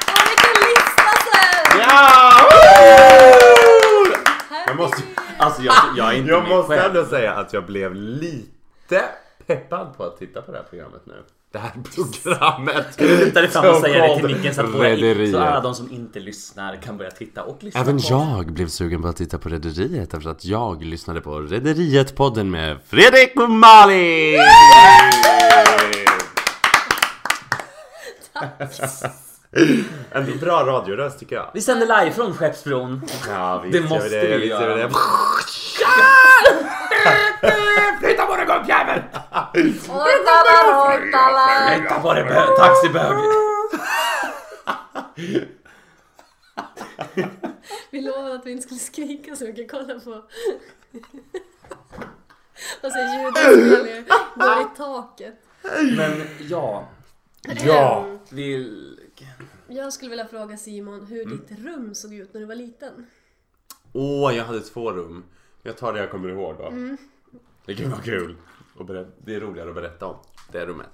Åh, vilken lista sen! Ja! Happy- Jag måste, Alltså jag, jag är inte jag mig måste själv. ändå säga att jag blev lite peppad på att titta på det här programmet nu. Det här programmet. Luta dig fram och som säga det kom till micken så att våra, Rederiet. så alla de som inte lyssnar kan börja titta och lyssna Även på oss. jag blev sugen på att titta på Rederiet efter att jag lyssnade på Rederiet-podden med Fredrik och Malin! en bra radioröst tycker jag. Vi sänder live från Skeppsbron. Ja, visst Det gör vi måste vi visst gör vi göra. det. Flytta på dig gubbjävel! Ordalarotala. Vänta på det bö- taxibög! Vi lovade att vi inte skulle skrika så mycket. Kolla på... Alltså ljudinspelningar går i taket. Men ja, Ja! vill... Ehm, Jag skulle vilja fråga Simon hur Mm. ditt rum såg ut när du var liten. Åh, jag hade två rum. Jag tar det jag kommer ihåg då. Mm. Det kan vara kul. Och berä- det är roligare att berätta om det rummet.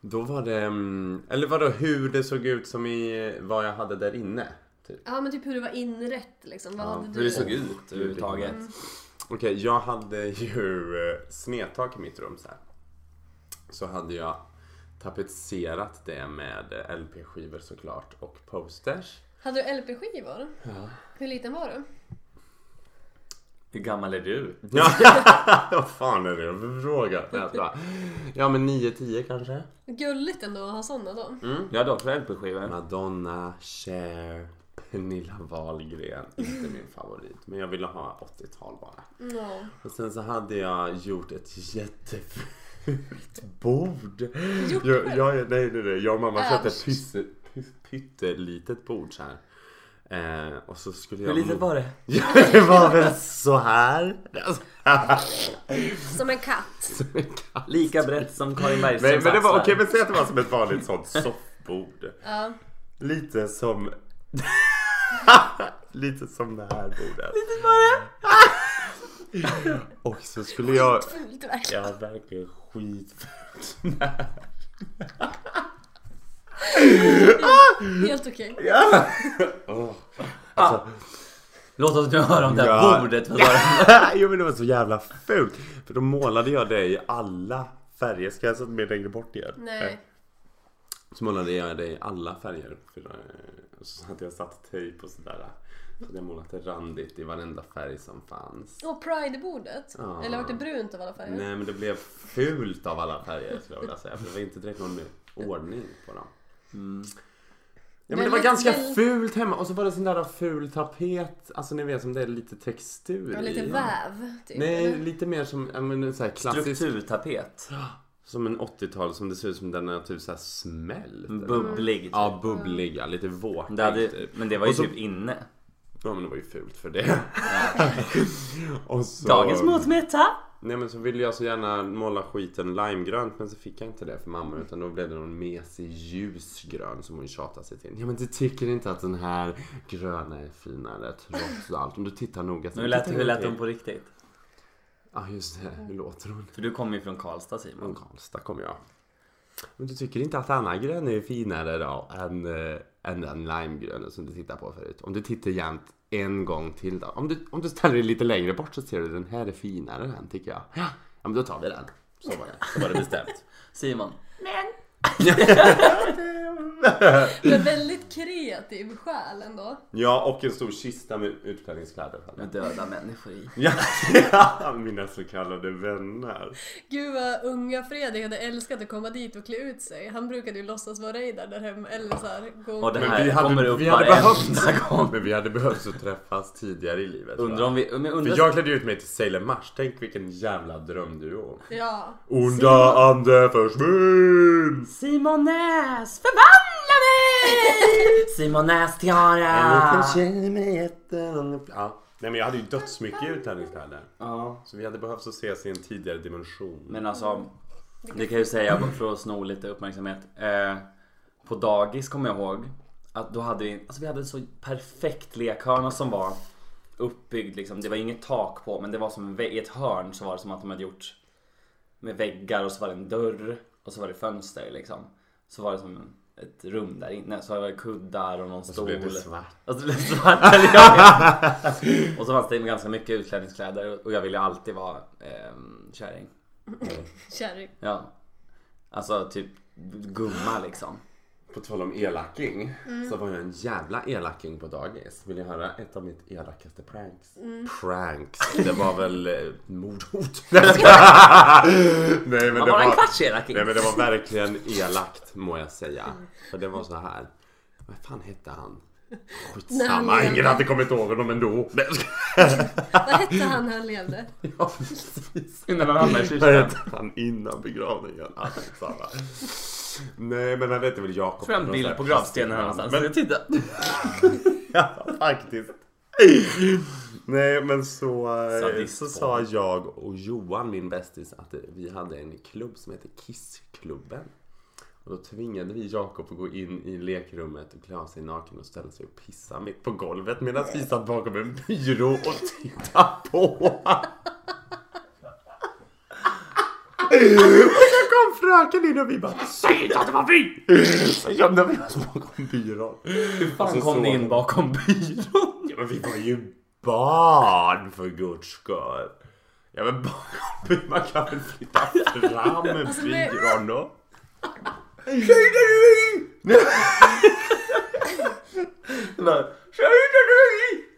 Då var det... mm, Eller vadå, hur det såg ut som i vad jag hade där inne. Typ. Ja men typ hur det var inrätt liksom. Vad hade Hur du? det såg ut överhuvudtaget. Okej, jag hade ju eh, snedtak i mitt rum så här. Så hade jag tapetserat det med eh, LP-skivor såklart och posters. Hade du LP-skivor? Hur liten var du? Hur gammal är du? Ja, vad fan är det för fråga? Ja, men 9-10 kanske? Gulligt ändå att ha sådana då. Mm. Jag hade också LP-skivor. Madonna, Cher, Pernilla Wahlgren. Inte min favorit. Men jag ville ha 80-tal bara. Ja. Och sen så hade jag gjort ett jättefult bord. Gjort Jag, jag, nej, nej, nej. Jag och mamma köpte ett Överst. pysse, py- pyttelitet bord så här. Eh, och så skulle jag... Hur litet var det? Ja, det var väl så här. Som en katt. Lika brett som Karin Bergströms Nej, men det var okej, axlar. men säg att det var som ett vanligt sånt soffbord. Ja. Lite som... Lite som det här bordet. Lite bara. Och så skulle jag... Fult Jag verkligen. var verkligen skitfult. Helt okej. Ah. Alltså, Låt oss nu höra om det Ja. här bordet. Vad var det? Jo men det var så jävla fult. För då målade jag det i alla färger. Ska jag sätta mig längre bort igen? Eh, Nej. Så målade jag det i alla färger. För, eh, och så hade jag satt tejp och sådär. Så hade jag målat det randigt i varenda färg som fanns. Och Pride-bordet. Ja. Eller vart det brunt av alla färger? Nej men det blev fult av alla färger skulle jag vilja säga. För det var inte direkt någon ordning på dem. Mm. Ja, men det var Väldigt, ganska väldigt- fult hemma och så var det sån där ful tapet, alltså ni vet som det är lite textur Ja, lite i. väv. Typ. Nej, eller? lite mer som ja, men, så här klassisk, Strukturtapet. som en 80-tal som det ser ut som den har typ såhär smält. Bubblig. typ. Ja, bubblig, ja, lite våkig Det hade, typ. men det var ju Och så- typ inne. Ja men det var ju fult för det. och så... Dagens matsmeta. Nej men så ville jag så gärna måla skiten limegrönt men så fick jag inte det för mamma utan då blev det någon mesig ljusgrön som hon tjatade sig till. Ja men du tycker inte att den här gröna är finare trots allt. Om du tittar noga. så- Hur lät, Titta hur lät noga. de på riktigt? Ja just det, hur låter hon? För du kommer ju från Karlstad Från Simon. Karlstad kommer jag. Men du tycker inte att denna grön är finare då än, eh, än den limegröna som du tittar på förut? Om du tittar jämt en gång till då. Om du, om du ställer dig lite längre bort så ser du den här är finare än tycker jag. Ja, ja men då tar vi den. Så var det, så var det bestämt. Simon. Men väldigt kreativ själ ändå. Ja, och en stor kista med utklädningskläder. Med döda människor i. Ja, mina så kallade vänner. Gud vad unga Fredrik hade älskat att komma dit och klä ut sig. Han brukade ju låtsas vara Reidar där hemma eller så här, gå Och det Men här vi hade- kommer upp vi hade varenda gång. Men vi hade behövt att träffas tidigare i livet. va? Undrar om vi... Men undrar, För jag klädde ut mig till Sailor Mars. Tänk vilken jävla drömduo. Ja. Onda ande försvinn! Simon Näs, förvandla mig! Simon Näs-tiara! tjej med jätten... Ja. Nej men jag hade ju dödsmycket utlänningskläder. Ja. Så vi hade behövt att ses i en tidigare dimension. Men alltså, det kan jag ju säga bara för att sno lite uppmärksamhet. Eh, på dagis kommer jag ihåg att då hade vi, alltså vi hade en så perfekt lekhörna som var uppbyggd liksom. Det var inget tak på men det var som en vä- i ett hörn så var det som att de hade gjort med väggar och så var det en dörr. Och så var det fönster liksom. Så var det som ett rum där inne. Så var det kuddar och någon Och stol. så blev det svart. Och så blev Alltså, det svart. eller jag- och så fanns det ganska mycket utklädningskläder och jag ville alltid vara eh, kärring. Kärring. Ja. Alltså typ gumma liksom. På tal om elaking så var jag en jävla elaking på dagis. Vill ni höra ett av mitt elakaste pranks? Pranks. Det var väl eh, mordhot. Nej, jag skojar. Nej men Man det var en var... kvarts elak Nej men det var verkligen elakt må jag säga. För det var så här. Vad fan hette han? Nej, Skitsamma, han ingen hade kommit ihåg honom ändå. Nej, jag skojar. Vad hette han när han levde? Ja precis. Innan han hamnade i Vad kyrkan. hette han innan begravningen? Ah, skitsamma. Nej men han hette väl Jakob. Får jag en bild på gravstenen här någonstans? Men titta! Ja, faktiskt. Nej men så, eh, Sadist så på. sa jag och Johan, min bästis, att eh, vi hade en klubb som hette Kissklubben. Och då tvingade vi Jakob att gå in i lekrummet och klä av sig naken och ställa sig och pissa mitt på golvet medan vi satt bakom en byrå och tittade på. Och så kom fröken in och vi bara Säg inte att det var vi! Så gömde vi oss bakom byrån. Hur Fan kom ni in bakom byrån? Ja men vi var ju barn för guds skull. Ja men barn, man kan väl flytta fram en Alltså, det- fyran då?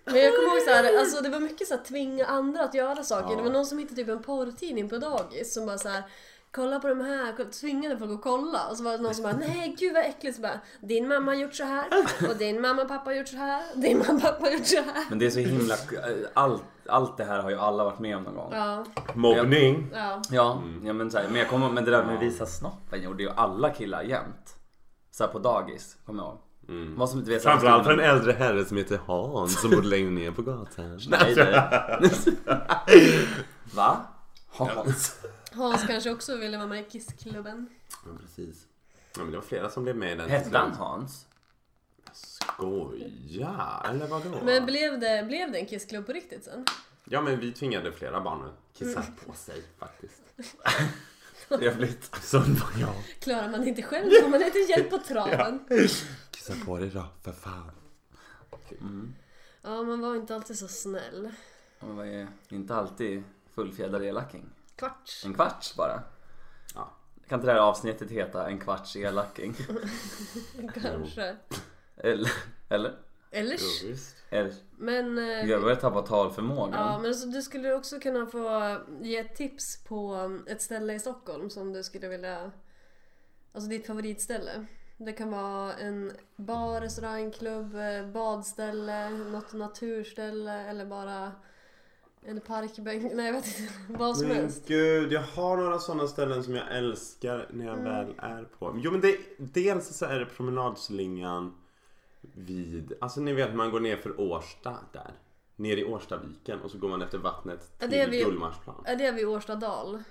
Men jag kommer ihåg så här, alltså det var mycket så här tvinga andra att göra saker. Det var någon som hittade typ en porrtidning på dagis som bara så här Kolla på de här, kolla- tvingade folk att kolla. Och så var det någon som bara, nej gud vad äckligt. Så bara, din mamma har gjort så här och din mamma och pappa har gjort så här. Din mamma och pappa har gjort så här. Men det är så himla... eh, Allt, allt det här har ju alla varit med om någon gång. Ja, Mobbning. ja. Ja, Mm. ja men, så här, men, jag kommer, men det där med visa snoppen gjorde ju alla killar jämt. Så här på dagis, kommer jag ihåg. Vad som, du vet, så här- Mm. Framförallt för en äldre herre som heter Hans som bodde längre ner på gatan. Nej, nej. Alltså. Va? Hans? Hans kanske också ville vara med i Kissklubben. Ja, precis. Ja, men det var flera som blev med i den. Hette han Hans? Skoja! Eller vadå? Men blev det, blev det en Kissklubb på riktigt sen? Ja men vi tvingade flera barn att kissa Mm. på sig faktiskt. Trevligt. Sån var jag. Klarar man det inte själv får man lite hjälp på traven. Ja. Kissa på dig då, för fan. man var inte alltid så snäll. Man var ju inte alltid fullfjädrad elaking. Kvarts. En kvarts bara. Ja. Kan inte det här avsnittet heta en kvarts elaking? Kanske. Eller? Eller? Eller? Eller? Men... eh, Jag börjar tappa Ja, talförmågan. men så du skulle också kunna få ge ett tips på um, ett ställe i Stockholm som du skulle vilja... Alltså ditt favoritställe. Det kan vara en bar, restaurangklubb, eh, badställe, något naturställe eller bara en parkbänk. Nej, jag vet inte. Vad som Men helst. gud, jag har några sådana ställen som jag älskar när jag Mm. väl är på. Jo men det, dels så är det promenadslingan vid, alltså ni vet man går ner för Årsta där. Ner i Årstaviken och så går man efter vattnet Ja, till det är vi- Gullmarsplan. Är det vid Årstadal?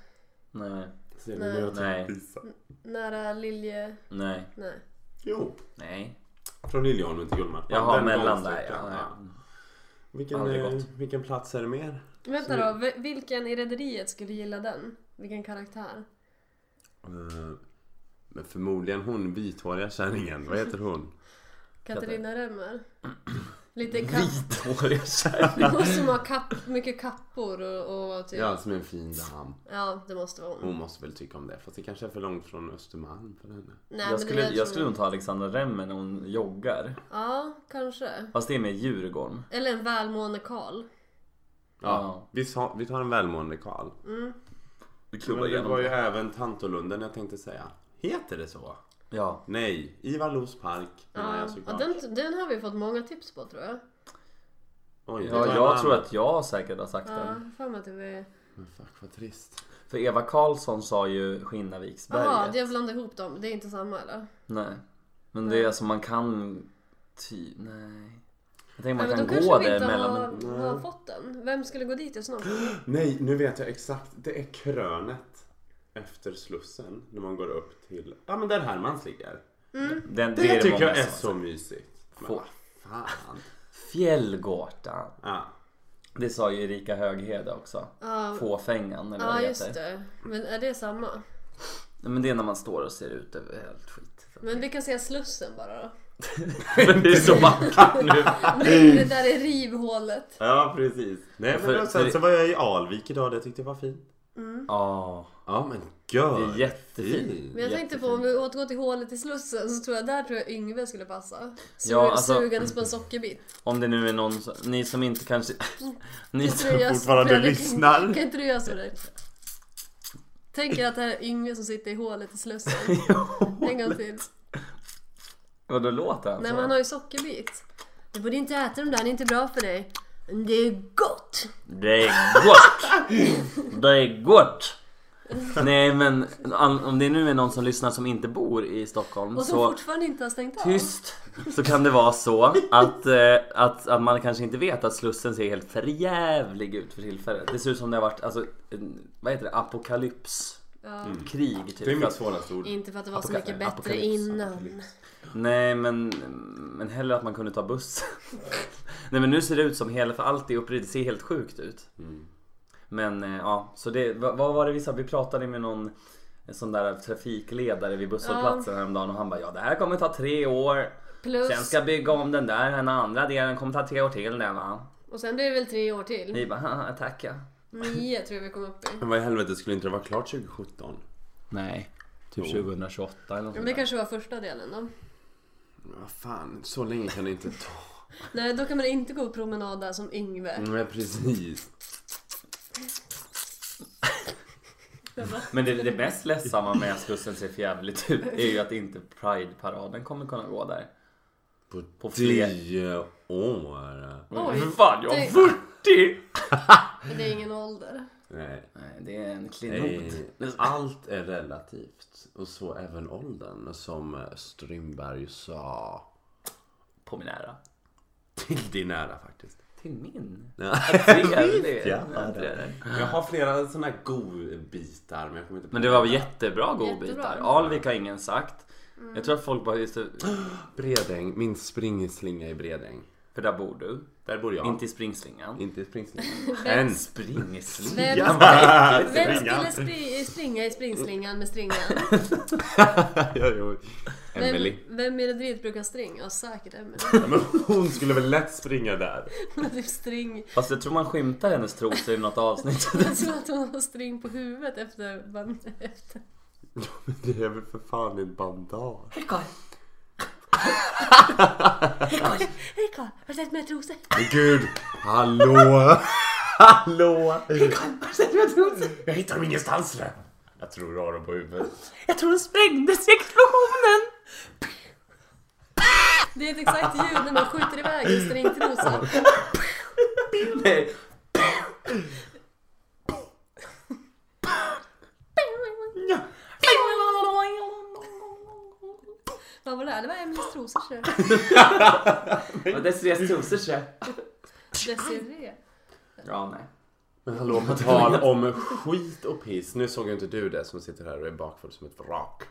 Nej, Ser Nej. ni vad jag Nej. visa? Nära Lilje... nej, Nej. Jo, nej. från Liljeholmen till Gullmarsplan. Jaha, Den mellan där gångsträckan, ja. ja. Vilken, Aldrig eh, gått. vilken plats är det mer? Vänta då, v- vilken i Rederiet skulle gilla den? Vilken karaktär? Eh, Men förmodligen hon vithåriga kärringen, vad heter hon? Katarina Remmer? Lite katt... Vithåriga kärringar. Hon som har kapp, mycket kappor och, och typ... Ja, Ja. som en fin dam. det måste vara hon. Hon måste väl tycka om det. Fast det kanske är för långt från Östermalm för henne. Nej, men Jag det skulle, där jag tror skulle nog ta Alexandra Remmer när hon joggar. Ja, kanske. Fast det är med Djurgården. Eller en välmående Karl. Ja. Vi, sa, vi tar en välmående Karl. Du Mm, Men det var ju även Tantolunden jag tänkte säga. Heter det så? Ja. Nej, Ivar Los park. menar Ja, jag såklart. ja, den, den har vi fått många tips på tror jag. Oj, det ja, var en jag annan. tror att jag säkert har sagt Ja, den. för mig att det var... Men fuck vad trist. För Eva Karlsson sa ju Skinnaviksberget. Jaha, jag blandade ihop dem. Det är inte samma eller? Nej. Men det är alltså man kan... Ty... Nej. Jag tänker Nej, man men kan då kanske gå vi inte där Mm. mellan. har, har fått den. Vem skulle gå dit just nu? Nej, nu vet jag exakt. Det är krönet. Efter Slussen. När man går upp till... Ja men där Hermans ligger. Den, Det, det är det tycker många jag är som- så mysigt. Men Få- vad fan. Fjällgårtan. Ja. Det sa ju Erika Höghede också. Fåfängan eller Ja, vad det just heter. det. Men är det samma? Nej, men det är när man står och ser ut över helt skit. Men vi kan säga Slussen bara då. Men det är så vackert nu. Det där är rivhålet. Ja, precis. Nej, men För- då, sen för- så var jag i Alvik idag. Det tyckte jag var fint. Ja, Ja, men gud. det är jättefint. Men jag tänkte på om vi återgår till hålet i Slussen så tror jag där tror jag Yngve skulle passa. Su- Ja, alltså- Sugandes på en sockerbit. Om det nu är någon som, ni som inte kanske, Mm. ni Kan inte som du göra- fortfarande Fredrik, lyssnar. Kan inte du göra så där? Tänker att det här är Yngve som sitter i hålet i Slussen. En gång till. Vadå låter han Nej så? men han har ju sockerbit. Du borde inte äta dem där, det är inte bra för dig. Men det är gott! Det är gott! Det är gott! Nej men an- om det nu är någon som lyssnar som inte bor i Stockholm Och som så fortfarande inte har stängt av. tyst så kan det vara så att, eh, att, att man kanske inte vet att Slussen ser helt förjävlig ut för tillfället. Det ser ut som det har varit alltså, en- vad heter det, apokalyps. Ja. Krig typ. Det är mitt svåraste ord. Inte för att det var så Apoka- mycket bättre apokalyps, innan. Nej men, men hellre att man kunde ta buss. Nej men nu ser det ut som hela, för allt är upprivet, det ser helt sjukt ut. Men eh, ja, så det, vad, vad var det vi sa? Vi pratade med någon en sån där trafikledare vid busshållplatsen häromdagen och han bara ja det här kommer ta tre år. Plus, Sen ska jag bygga om den där, den andra delen kommer ta tre år till den va. och sen blir det väl tre år till. Vi bara haha tack ja. Nio tror jag vi kom upp i. Men vad i helvete skulle inte det vara klart 2017? Nej, typ 2028 eller något Men det kanske var första delen då. Vad fan, så länge kan det inte ta. Nej, då kan man inte gå promenad där som Mm. Yngve. Nej, precis. Men det, det mest ledsamma med att Slussen ser förjävligt ut är ju att inte Pride-paraden kommer kunna gå där. På, fler. tio år. Oj. Hur fan, jag Det- är 40! Men det är ingen ålder. Nej. Nej, det är en klenod. Nej. Allt är relativt. Och så även åldern, som Strindberg sa. På min ära. Till din ära faktiskt. Till min. Ja. Trevlig. Ja, det är det. Jag har flera sådana här godbitar men jag kommer inte på Men det var jättebra godbitar. Jättebra. Alvik har ingen sagt. Jag tror att folk bara, just det, Bredäng, min springslinga i Bredäng. för där bor du. Där bor jag. Inte i springslingan. Inte i springslingan. En Springslingan? Vem, vem springslinga. skulle spri- springa i springslingan med stringan? springslinga. Emily. Vem, vem i Madrid brukar stringa? Ja, säkert Emelie. Ja, men hon skulle väl lätt springa där. Hon har typ string. Fast jag tror man skymtar hennes trosor i något avsnitt. Jag tror att hon har string på huvudet efter... efter. Men det är väl för fan ett bandage. Hej Karl! Hej Karl! Hej Karl! Har du sett mina trosor? Men gud! Hallå! Hallå! Jag hittar dem ingenstans nu. Jag tror du har dem på huvudet. Jag tror hon sprängdes i explosionen! Det är ett exakt ljud när man skjuter iväg en stringtrosa. Nej. Vad var det här? Det var Emelies trosor tror jag. Och Desirées trosor så. Desirée. Ja, nej. Men hallå, på tal om skit och piss. Nu såg ju inte du det som sitter här och är bakfull som ett vrak.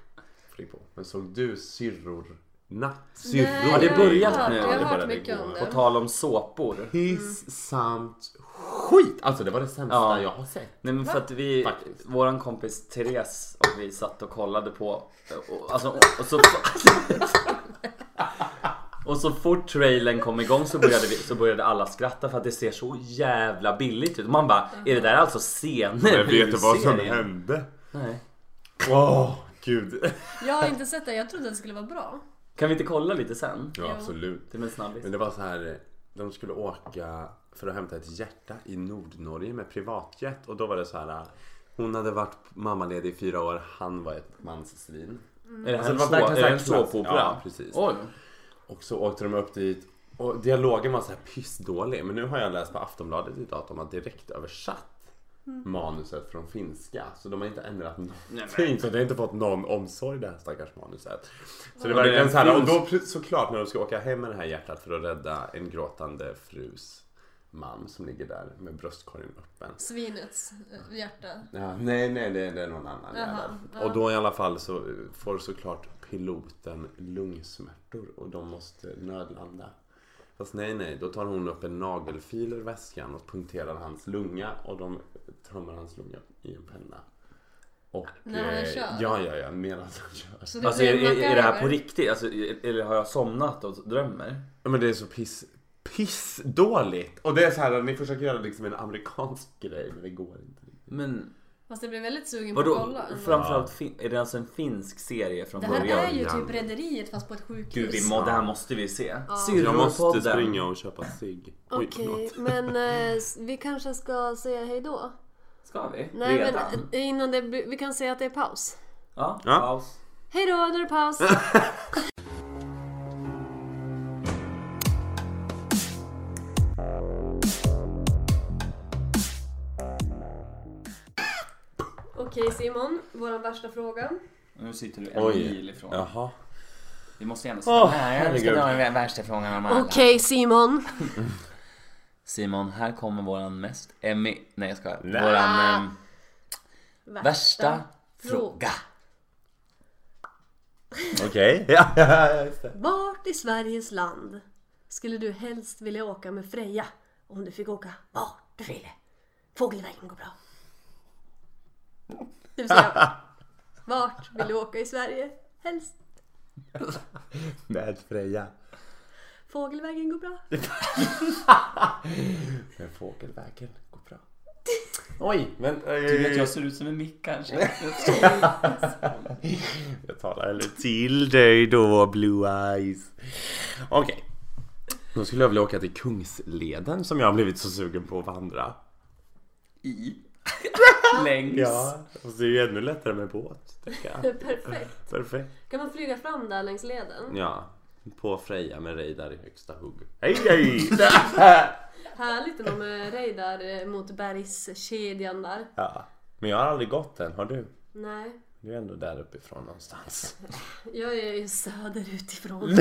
Fri på. Men såg du syrror? Natt? Syrror? Nej, Har det jag börjat hört- nu? Jag Ja, har det hört började mycket igår. om På det. Mm. tal om såpor. Piss samt skit! Alltså det var det sämsta Ja. jag har sett. Nej men för att vi, Faktiskt. våran kompis Therese och vi satt och kollade på och, alltså, och, och så Och så fort trailern kom igång så började, vi, så började alla skratta för att det ser så jävla billigt ut. Man bara, är det där alltså scener ur serien? hände? Nej. Åh, gud. Jag har inte sett det. Jag trodde att det skulle vara bra. Kan vi inte kolla lite sen? Ja, absolut. Det är en snabbis. Men det var så här, de skulle åka för att hämta ett hjärta i Nordnorge med privatjet och då var det så här hon hade varit mammaledig i fyra år, han var ett manssvin. Är det här Alltså, det var en, så, verkligen är det en så här klass- såpopera? Ja, precis. Oj. Och så åkte de upp dit och dialogen var så här pissdålig. Men nu har jag läst på Aftonbladet idag att de har direkt översatt manuset från finska. Så de har inte ändrat någonting. Så det har inte fått någon omsorg det här stackars manuset. Så det var Men det är verkligen en så här. Och finsk- då pr- såklart när de ska åka hem med det här hjärtat för att rädda en gråtande frus man som ligger där med bröstkorgen öppen. Svinets eh, hjärta. Ja, nej, nej, det, det är någon annan Jaha, jävel. ja. Och då i alla fall så eh, får såklart piloten lungsmärtor och de måste nödlanda. Fast nej, nej, då tar hon upp en nagelfil ur väskan och punkterar hans lunga och de trummar hans lunga i en penna. Och, När han eh, kör? Ja, ja, ja. Medan han kör. Så det Alltså blir är, är, är en det här mackaröver. på riktigt? Alltså, är- eller har jag somnat och drömmer? Ja, Men det är så piss, pissdåligt. Och det är så här, ni försöker göra liksom en amerikansk grej, men det går inte. Men Fast jag blev väldigt sugen på att vadå? kolla. Framförallt fin- är det alltså en finsk serie från Det här början? är ju Början. typ Rederiet fast på ett sjukhus. Gud, vi må, det här måste vi se. Jag måste Syrropodden. springa och köpa cigg. Oj, Okej, förlåt. men eh, s- vi kanske ska säga hej då? Ska vi? Nej, men Redan? eh, innan det blir- vi kan säga att det är paus. Ja, Ja. paus. Hej då, nu är det paus! Okej Simon, vår värsta fråga. Nu sitter du en mil Oj. ifrån. Jaha. Vi måste ändå Åh, här. Jag ska herregud. dra den värsta frågan av alla. Okej Simon. Simon, här kommer våran mest Emmy... Nej jag skojar. Nej. Våran ehm, värsta fråga. Okej. Ja, ja, just det. Vart i Sveriges land skulle du helst vilja åka med Freja? Om du fick åka vart du ville. Fågelvägen går bra. Det vill säga, vart vill du åka i Sverige? Helst. Med Freja. Fågelvägen går bra. Med fågelvägen. Går bra. Oj, men... eh, Du vet jag ser ut som en mick kanske. Jag talar hellre till dig då, Blue Eyes. Okej. Då skulle jag vilja åka till Kungsleden som jag har blivit så sugen på att vandra. I. Längs. Och det är ju ännu lättare med båt. tänker jag. Perfekt. Perfekt. Kan man flyga fram där längs leden? Ja. På Freja med Reidar i högsta hugg. Hej hej! Härligt ändå med Reidar eh, mot bergskedjan där. ja. Men jag har aldrig gått den, har du? Nej, Du är ändå där uppifrån någonstans. jag är ju söderutifrån.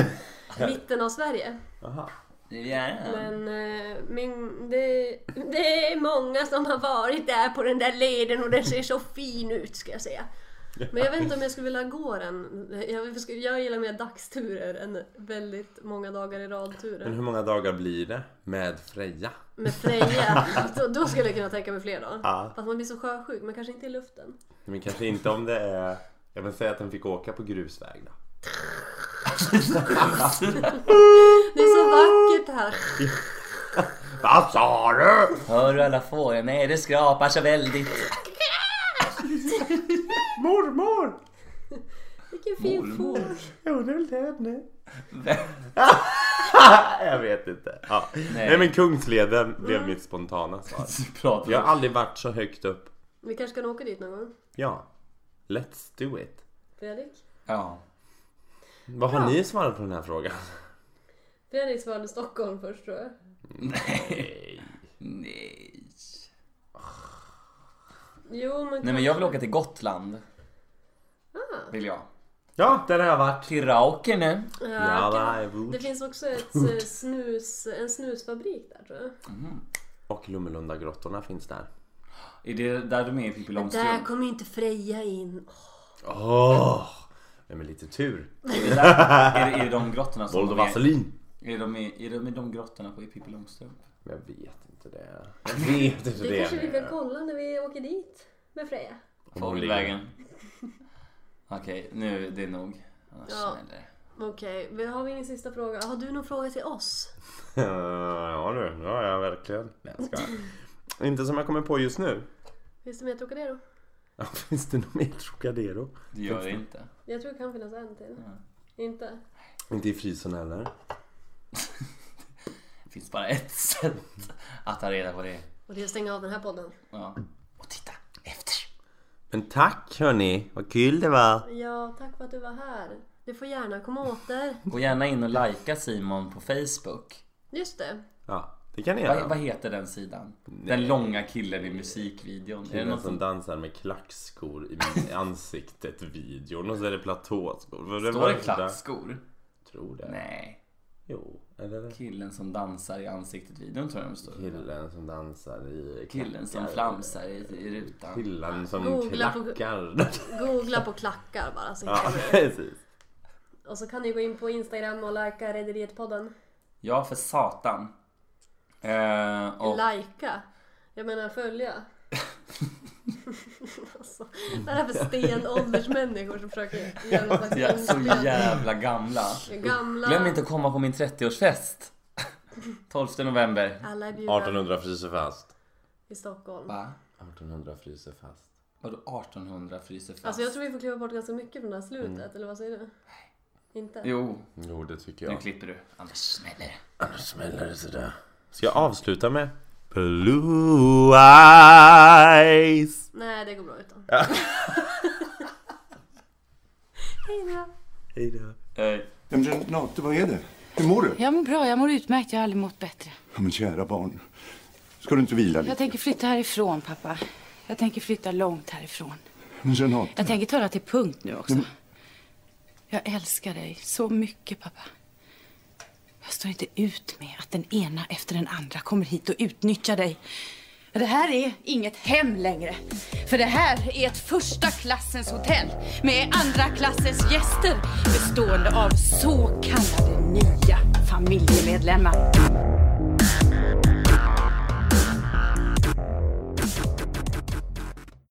Mitten av Sverige. Jaha. Ja. Men eh, min, det, det är många som har varit där på den där leden och den ser så fin ut ska jag säga. Men jag vet inte om jag skulle vilja gå den. Jag, jag gillar mer dagsturer än väldigt många dagar i Men rad-turer. hur många dagar blir det med Freja? Med Freja, då, då skulle jag kunna tänka mig fler dagar. Ja. Fast man blir så sjösjuk, men kanske inte i luften. Men kanske inte om det är... Jag vill säga att den fick åka på grusväg då. Det är så vackert här. Vad sa du? Hör du alla fåren? Nej det skrapar så väldigt. Mormor! Vilken fin fågel. Jo, det är väl det nu. Jag vet inte. Ja. Nej. men Kungsleden blev mitt spontana svar. Pratar Jag har aldrig varit så högt upp. Vi kanske kan åka dit någon gång. Ja. Let's do it. Fredrik? Ja. Vad har ni svarat på den här frågan? Fredrik svarade Stockholm först tror jag. Nej. Nej. Jo, men... Nej men jag vill åka till Gotland. Ah. Vill jag. Ja, där har jag varit. Till Rauker nu. Ja, kan- det är vårt. Det finns också ett eh, snus, en snusfabrik där tror jag. Och Lummelundagrottorna finns där. Är det där de är i Pippi Där Långstrump? kommer inte Freja in. Åh! Men med lite tur. Är det, där, är det, är det de grottorna som Våld och de är, vaselin. är, de i, är de i de grottorna på i Pippi Långstrump? Men jag vet inte det. Jag vet inte Det, det. eh, kanske vi kan kolla när vi åker dit med Freja. Om hon ligger- Fågelvägen. Okej, nu det är nog. Annars Ja. smäller det. Okej, vi- har vi ingen sista fråga? Har du någon fråga till oss? Eh, Ja du, det har jag verkligen. Nej, jag skojar. Inte som jag kommer på just nu. Finns det mer Trocadero? Ja, Finns det något mer Trocadero? Det gör det inte. Jag tror det kan finnas en till. Inte? Inte i frysen heller. Det finns bara ett sätt att ta reda på det. Och det är att stänga av den här podden. Ja. Och titta efter. Men tack hörni, vad kul det var. Ja, tack för att du var här. Du får gärna komma åter. Gå gärna in och likea Simon på Facebook. Just det. Ja, det kan ni Vad, vad göra. heter den sidan? Den långa killen i musikvideon. är det Killen någon som som... dansar med klackskor i min- ansiktet videon och så är det platåskor. För Står var det där- klackskor? Tror det. Nej. Jo, eller? Killen som dansar i ansiktet videon tror jag de står. Killen som dansar i... Killen som klackar. flamsar i, i rutan. Killen som Googla på- klackar. Googla på klackar bara så ja, hittar du. precis. Och så kan ni gå in på Instagram och likea Rederiet-podden. Ja, för satan. Eh, och Lajka? Jag menar följa. alltså. Vad är det för stenåldersmänniskor som försöker göra någon slags Ja, så inspelning? jävla gamla. Gamla. Glöm inte att komma på min 30-årsfest. 12 november. Alla är bjudna 1800 fryser fast. i Stockholm. Va? 1800 fryser fast. Vadå 1800 fryser fast? Alltså jag tror vi får kliva bort ganska mycket från det här slutet, Mm. eller vad säger du? Inte? Jo, Jo, det tycker nu jag. klipper du. Annars smäller det. Annars smäller det sådär. Ska jag avsluta med Blue eyes? Nej, det går bra utan. Hejdå. Hej. Ja, men Renate, vad är det? Hur mår du? Jag mår bra, jag mår utmärkt. Jag har aldrig mått bättre. Ja, men kära barn, ska du inte vila lite? Jag tänker flytta härifrån, pappa. Jag tänker flytta långt härifrån. Men Renate, Jag tänker ta det till punkt nu också. Jag älskar dig så mycket, pappa. Jag står inte ut med att den ena efter den andra kommer hit och utnyttjar dig. Det här är inget hem längre. För det här är ett första klassens hotell med andra klassens gäster bestående av så kallade nya familjemedlemmar.